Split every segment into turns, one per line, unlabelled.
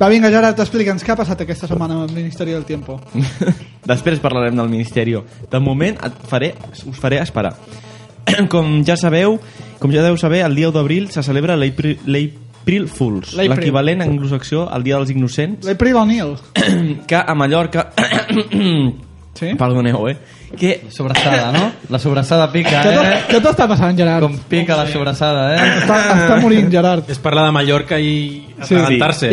Va, vinga, Gerard, explica'ns què ha passat aquesta setmana amb el Ministeri del Tiempo.
Després parlarem del Ministeri. De moment et faré, us faré esperar. Com ja sabeu, com ja deu saber, el dia 1 d'abril se celebra l'Apri- l'April Fools,
L'April.
l'equivalent anglosaxó al Dia dels Innocents,
L'April Eh, O'Neill.
que a Mallorca...
Sí?
Perdoneu, eh? Que
Sobrassada, no? La sobrassada pica,
Què t'ha-
eh?
què t'està passant, Gerard?
Com pica la sobrassada, eh?
Està, està morint, Gerard.
És parlar de Mallorca i atragantar-se.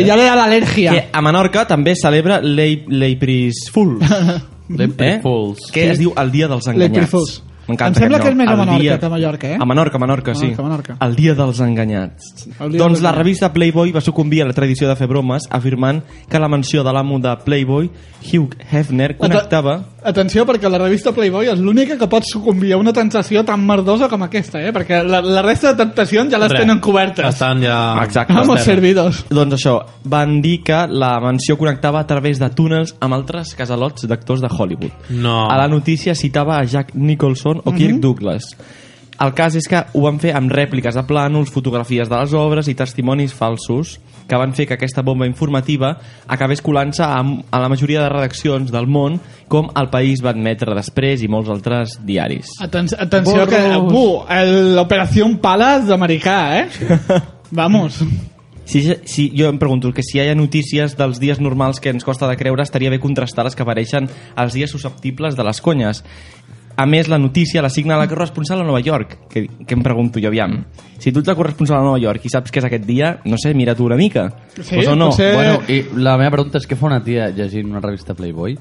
eh?
I ja li da l'al·lèrgia.
que a Menorca també celebra l'Ei- l'Apris Fools. Eh?
L'April Fools.
Que es diu el Dia dels
L'April
Enganyats.
Fools.
M'encanta
Em sembla
aquest
que és més a
nom. El
Menorca
dia-
que a Mallorca, eh?
A Menorca, Menorca, sí.
Menorca, Menorca.
El Dia dels Enganyats.
El dia
doncs
dels
la
enganyats.
revista Playboy va sucumbir a la tradició de fer bromes afirmant que la menció de l'amo de Playboy, Hugh Hefner, connectava...
Aten- Atenció, perquè la revista Playboy és l'única que pot sucumbir a una tentació tan merdosa com aquesta, eh? Perquè la, la resta de tentacions ja les
Res.
tenen cobertes.
Estan
Ah,
ja...
Exacte.
Vamos servidos.
Doncs això, van dir que la mansió connectava a través de túnels amb altres casalots d'actors de Hollywood.
No.
A la notícia citava a Jack Nicholson o Kirk Douglas. El cas és que ho van fer amb rèpliques de plànols, fotografies de les obres i testimonis falsos que van fer que aquesta bomba informativa acabés colant-se amb- a la majoria de redaccions del món com El País va admetre després i molts altres diaris.
Aten atenció que... Bu, el- l'operació Palas d'americà, eh? Vamos.
Si, si, jo em pregunto que si hi ha notícies dels dies normals que ens costa de creure, estaria bé contrastar les que apareixen als dies susceptibles de les conyes. A més, la notícia la signa la corresponsal a Nova York, que, que em pregunto jo, aviam. Si tu ets la corresponsal a Nova York i saps que és aquest dia, no sé, mira tu una mica.
Sí,
Pues o no.
potser-
Bueno, i la meva pregunta és què fa una tia llegint una revista Playboy?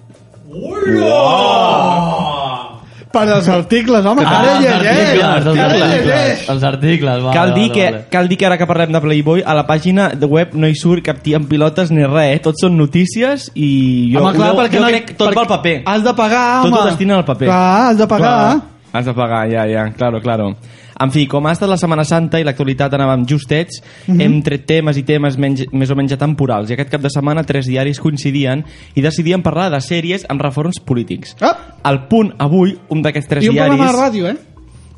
Per als articles, home. Ah, Ara llegeix.
Els
Ara
articles,
llegeix.
els articles. Vale,
Cal dir,
Ah, vale,
que,
vale.
cal dir que ara que parlem de Playboy, a la pàgina de web no hi surt cap tia amb pilotes ni res, eh? Tot són notícies i jo,
home, clar,
jo,
perquè
jo
no-
crec tot
perquè
pel paper.
Has de pagar,
Tot
home.
ho destinen al paper.
Clar, has de pagar. eh?
Clar, Has de pagar, ja, ja, claro, claro. En fi, com ha estat la Setmana Santa i l'actualitat anàvem justets,
Mhm.
hem tret temes i temes menys, més o menys temporals i aquest cap de setmana tres diaris coincidien i decidien parlar de sèries amb reforms polítics.
Ah.
Al punt avui, un d'aquests tres
I un
diaris
programa de ràdio, eh?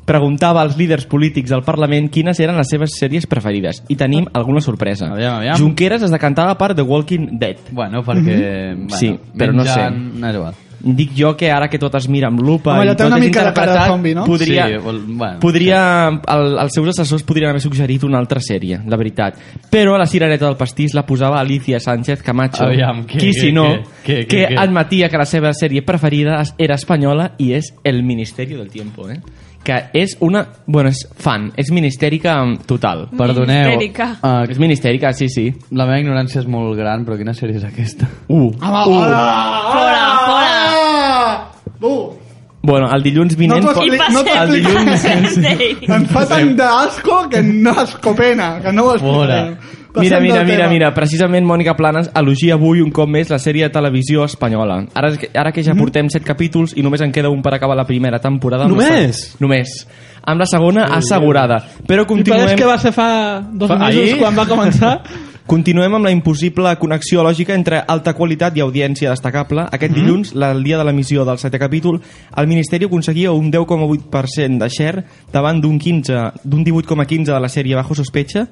preguntava als líders polítics del Parlament quines eren les seves sèries preferides i tenim alguna sorpresa.
Aviam, aviam.
Junqueras es decantava per The Walking Dead.
Bueno, perquè...
Mhm.
Bueno,
Sí, però no sé.
menjant- No és igual.
Dic jo que ara que tot es mira amb lupa
Home, allò
i
té
tot
una
és
mica de cara de
interpretat,
zombi, no?
podria,
Sí, vol- bueno,
podria, el, els seus assessors podrien haver suggerit una altra sèrie, la veritat. Però la cirereta del pastís la posava Alicia Sánchez Camacho,
Aviam, què,
qui
què,
si no,
què,
que
què, què, què?
admetia que la seva sèrie preferida es- era espanyola i és El Ministerio del Tiempo, eh? que és una... Bueno, és fan, és ministèrica mm, total.
Perdoneu.
Ministerica.
Ah.
eh,
És ministèrica, sí, sí.
la meva ignorància és molt gran, però quina sèrie és aquesta?
Uh.
Home, hola.
Fora, fora.
Ah. Bu.
Bueno, el dilluns
No
vinent...
t'ho
pot-
I
expli-
passa
no t'ho
el
expliques.
dilluns.
Em fa tant d'asco que no asco pena, que no ho explicaré.
Fora.
Mira,
Passem
mira,
del
mira,
tema.
mira, precisament Mònica Planes elogia avui un cop més la sèrie de televisió espanyola. Ara, que- ara que
Mm-hmm.
ja portem set capítols i només en queda un per acabar la primera temporada... amb la
Només?
se- Només. Amb la segona assegurada. Però
I
continuem...
pareix que va ser fa dos
Fa-
mesos
ahir?
quan va començar.
Continuem amb la impossible connexió lògica entre alta qualitat i audiència destacable. Aquest
Mm-hmm.
dilluns, la- el dia de l'emissió del setè capítol, el Ministeri aconseguia un 10,8% de share davant d'un 15 d'un 18,15 de la sèrie Bajo Sospecha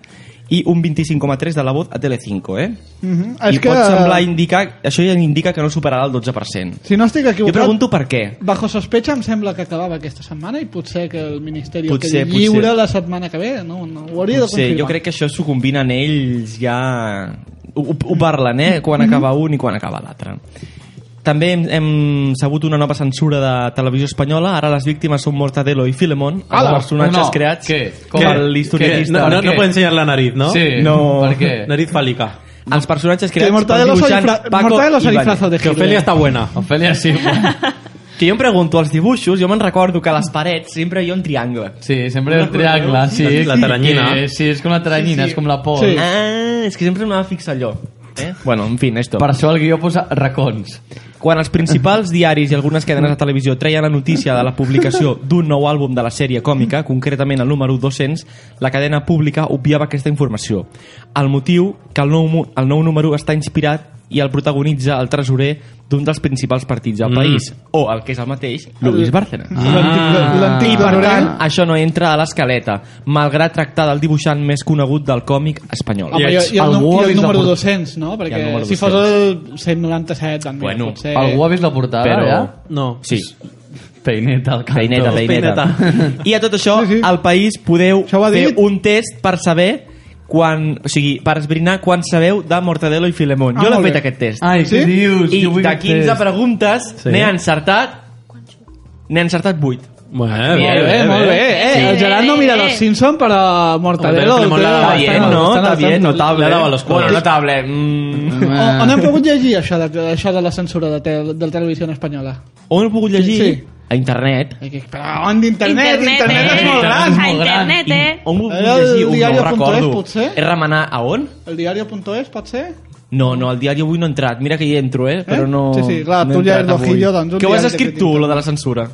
i un 25,3 de la vot a Telecinco, eh?
Mhm.
I pot semblar indicar, això ja indica que no superarà el 12%.
Si no estic
Jo
equivocat...
pregunto per què.
Bajo sospecha em sembla que acabava aquesta setmana i potser que el Ministeri el
Potser,
quedi lliure
potser.
la setmana que ve. No, no, ho hauria
Potser,
de confirmar.
jo crec que això s'ho combinen ells ja... Ho, ho- ho parlen, eh? Quan acaba un i quan acaba l'altre. També hem, hem sabut una nova censura de televisió espanyola. Ara les víctimes són Mortadelo i Filemón, els
Ala,
personatges
no,
creats
què?
com
Què?
el historietista.
No, no, no
Què?
puedo enseñar la nariz, ¿no?
Sí.
No.
Per què?
Nariz fálica.
Els personatges
Que
creats pel
Mortadelo se
dibuixant
disfra-
Paco
Mortadelo se
Ibáñez.
disfraza de
Que
Hitler.
Ofelia està buena.
Ofèlia, sí.
Que jo em pregunto, als dibuixos, jo me'n recordo que a les parets sempre hi ha un triangle.
Sí, sempre el triangle, sí.
La taranyina.
Que- Sí, és com la taranyina, és com la por.
Sí.
Ah, és que sempre m'anava a fixar allò. Eh? Bueno, en fi, esto.
Per això el guió posa racons.
Quan els principals diaris i algunes cadenes de televisió treien la notícia de la publicació d'un nou àlbum de la sèrie còmica, concretament el número 200, la cadena pública obviava aquesta informació. El motiu que el nou, mu- el nou número està inspirat i el protagonitza el tresorer d'un dels principals partits del país, o el que és el mateix, Luis Bárcenas.
L'antic-
I
L'antic
Ah. per tant,
Lorel.
això no entra a l'escaleta, malgrat tractar del dibuixant més conegut del còmic espanyol.
Home, i, i, el,
Algú
nu- i
ha
el
vist la
número
porta-
200, no? Perquè
I el número
si fos el 197, també,
Bueno,
doncs potser...
Algú ha vist la portada,
Però-
ja?
No.
Sí,
Peineta al cantó.
peineta, peineta. I a tot això,
Sí, sí.
al País podeu
Això ho ha
fer
dit.
un test per saber quan, o sigui, per esbrinar quan sabeu de Mortadelo i Filemón.
Ah, doncs
jo l'he
molt
fet
bé.
aquest test.
Ai, què
Sí?
dius?
I
Jo vull
de
un
15
test.
preguntes
Sí.
n'he encertat n'he encertat 8.
Bueno,
Molt bé, molt bé. Eh,
Sí.
el Gerard no mira los Simpson, però Mortadelo...
Hombre, Filemón
el té
la-
Està
Bastant,
bien,
bastant-
no?
bastant-
Està bien,
bastant-
notable.
Le daba los
Bueno,
codos.
notable. Mm.
On, on hem pogut llegir això de, això de la censura de, te, de la televisió espanyola?
On he pogut llegir?
Sí.
A internet.
Però on d'internet? Internet, internet
eh?
és molt gran.
A eh. internet, eh?
On ho
Era
puc
el
llegir? Un, no ho
diario.es,
recordo.
potser?
És remenar a on?
El diario.es, pot ser?
No, no, al diari avui no he entrat. Mira que hi he entro, eh? Però no...
Sí, sí, clar,
no he
tu ja
entrat
eres l'ojillo,
avui.
doncs, un
Que ho has
diari
escrit
que
tu,
tinc.
lo de la censura.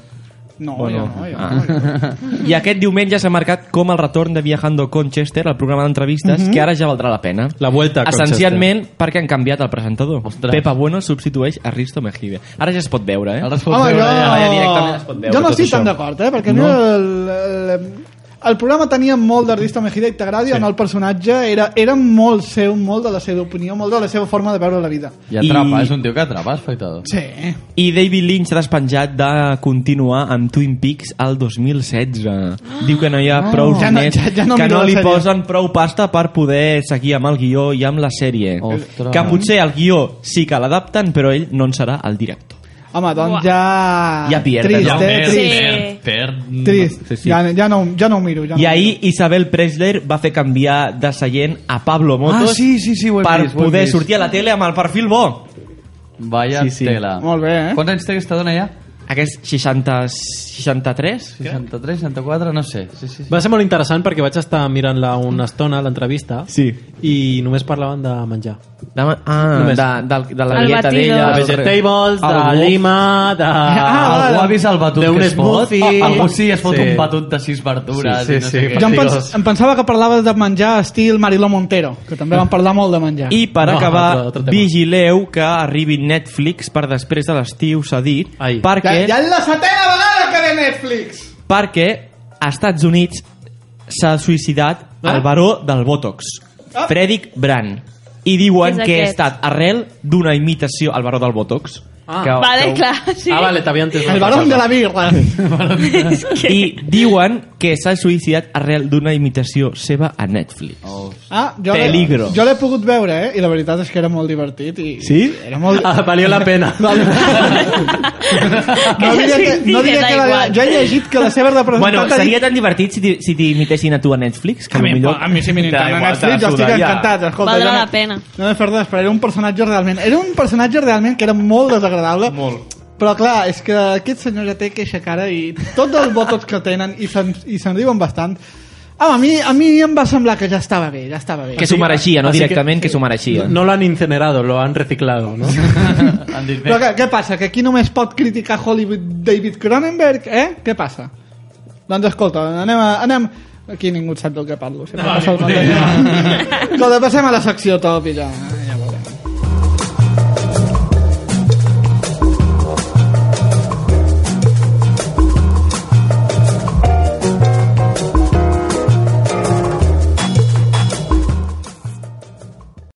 No,
Bueno. Ah.
jo no, jo no.
I aquest diumenge s'ha marcat com el retorn de Viajando con Chester, el programa d'entrevistes,
Mhm.
que ara ja valdrà la pena.
La vuelta a Colchester.
Essencialment perquè han canviat el presentador. Ostres. Pepa Bueno substitueix a Risto Mejide. Ara ja es pot veure, eh?
Ara es pot
Home,
veure, ja.
ja directament es pot
jo...
veure
Jo no
tot
estic tan
això.
d'acord, eh? Perquè no. el, el, el programa tenia molt d'artista Mejida i t'agradi sí. o no el personatge, era, era molt seu, molt de la seva opinió, molt de la seva forma de veure la vida.
I atrapa,
I-
és un tio que atrapa, espectador.
Sí.
I David Lynch s'ha despatxat de continuar amb Twin Peaks al
Ah,
2016. Diu que no hi ha prou
Ja no-
diners,
ja- ja no
que
miro
no
la
li
sèrie.
posen prou pasta per poder seguir amb el guió i amb la sèrie.
Ostres.
Que potser el guió sí que l'adapten, però ell no en serà el director.
Home,
Uah.
doncs ja...
Ja pierde,
Trist,
ja
eh?
perd.
Trist,
Sí.
Perd...
trist.
Sí, sí.
Ja, ja, no, ja no ho miro. Ja
I
no ho miro.
ahir Isabel Presler va fer canviar de seient a Pablo Motos
Ah, sí, sí, sí, ho he
per
vist, ho he
poder
vist.
sortir a la tele amb el perfil bo.
Vaya
Sí, sí.
tela.
Molt bé, eh?
Quants anys té aquesta dona ja?
Aquest 60, 63?
63, 64, no sé. Sí, sí, sí.
Va ser molt interessant perquè vaig estar mirant-la una estona, l'entrevista,
Sí.
i només parlaven de menjar.
De, ah, de,
Només.
de, de la
El
dieta
batido.
d'ella.
De
El
vegetables,
Ah, algú-
de lima, de...
Ah, algú ha vist el batut
d'un
que es fot?
smoothie.
Algú sí es fot
Sí.
un batut de sis
Sí,
verdures.
sí,
i no sé
sí,
què.
Jo em, pens
Fatigós.
em pensava que parlaves de menjar estil Mariló Montero, que també van parlar molt de menjar.
I per
No,
acabar,
altre- altre tema.
vigileu que arribi Netflix per després de l'estiu, s'ha dit,
Ai.
Ja,
perquè,
ja és la setena vegada que ve Netflix!
perquè a Estats Units s'ha suïcidat el baró del Botox,
Ah.
Frederick Brand. I diuen
És
que ha
aquest.
estat arrel d'una imitació al baró del Botox. Ah,
Vale, clar, sí.
Ah, vale, t'havia entès.
El barón de la birra.
I diuen que s'ha suïcidat arrel d'una imitació seva a Netflix.
Oh.
Ah, jo l'he-
Peligro.
Jo l'he pogut veure, eh? I la veritat és que era molt divertit. I
Sí?
Era molt...
Ah, valia la pena.
No diré que, no diré que la, jo he llegit que la seva representant
Bueno,
ha dit-
seria tan divertit si t'i- si t'imitessin a tu a Netflix, que
A mi,
potser...
a mi si m'interna
Da igual, te la
Netflix, jo estic
suda, ja.
encantat. Escolta,
Valdrà
jo no-
la pena.
No m'he fet res, però era un personatge realment... Era un personatge realment que era molt desagradable. Molt. Però clar, és que aquest senyor ja té queixa cara i tots els botots que tenen i se'n i se'n riuen bastant. Ah, a mi, a mi em va semblar que ja estava bé, ja estava bé.
Que s'ho mereixia, no
Así que-
directament, que s'ho mereixia.
No l'han incinerado, lo han reciclado, ¿no?
Han dit,
Però
bé,
què, què passa? Que aquí només pot criticar Hollywood David Cronenberg, eh? Què passa? Doncs escolta, anem a... Anem... Aquí ningú sap del que parlo. Sempre no, passa el mateix. Escolta, passem a la secció top i ja.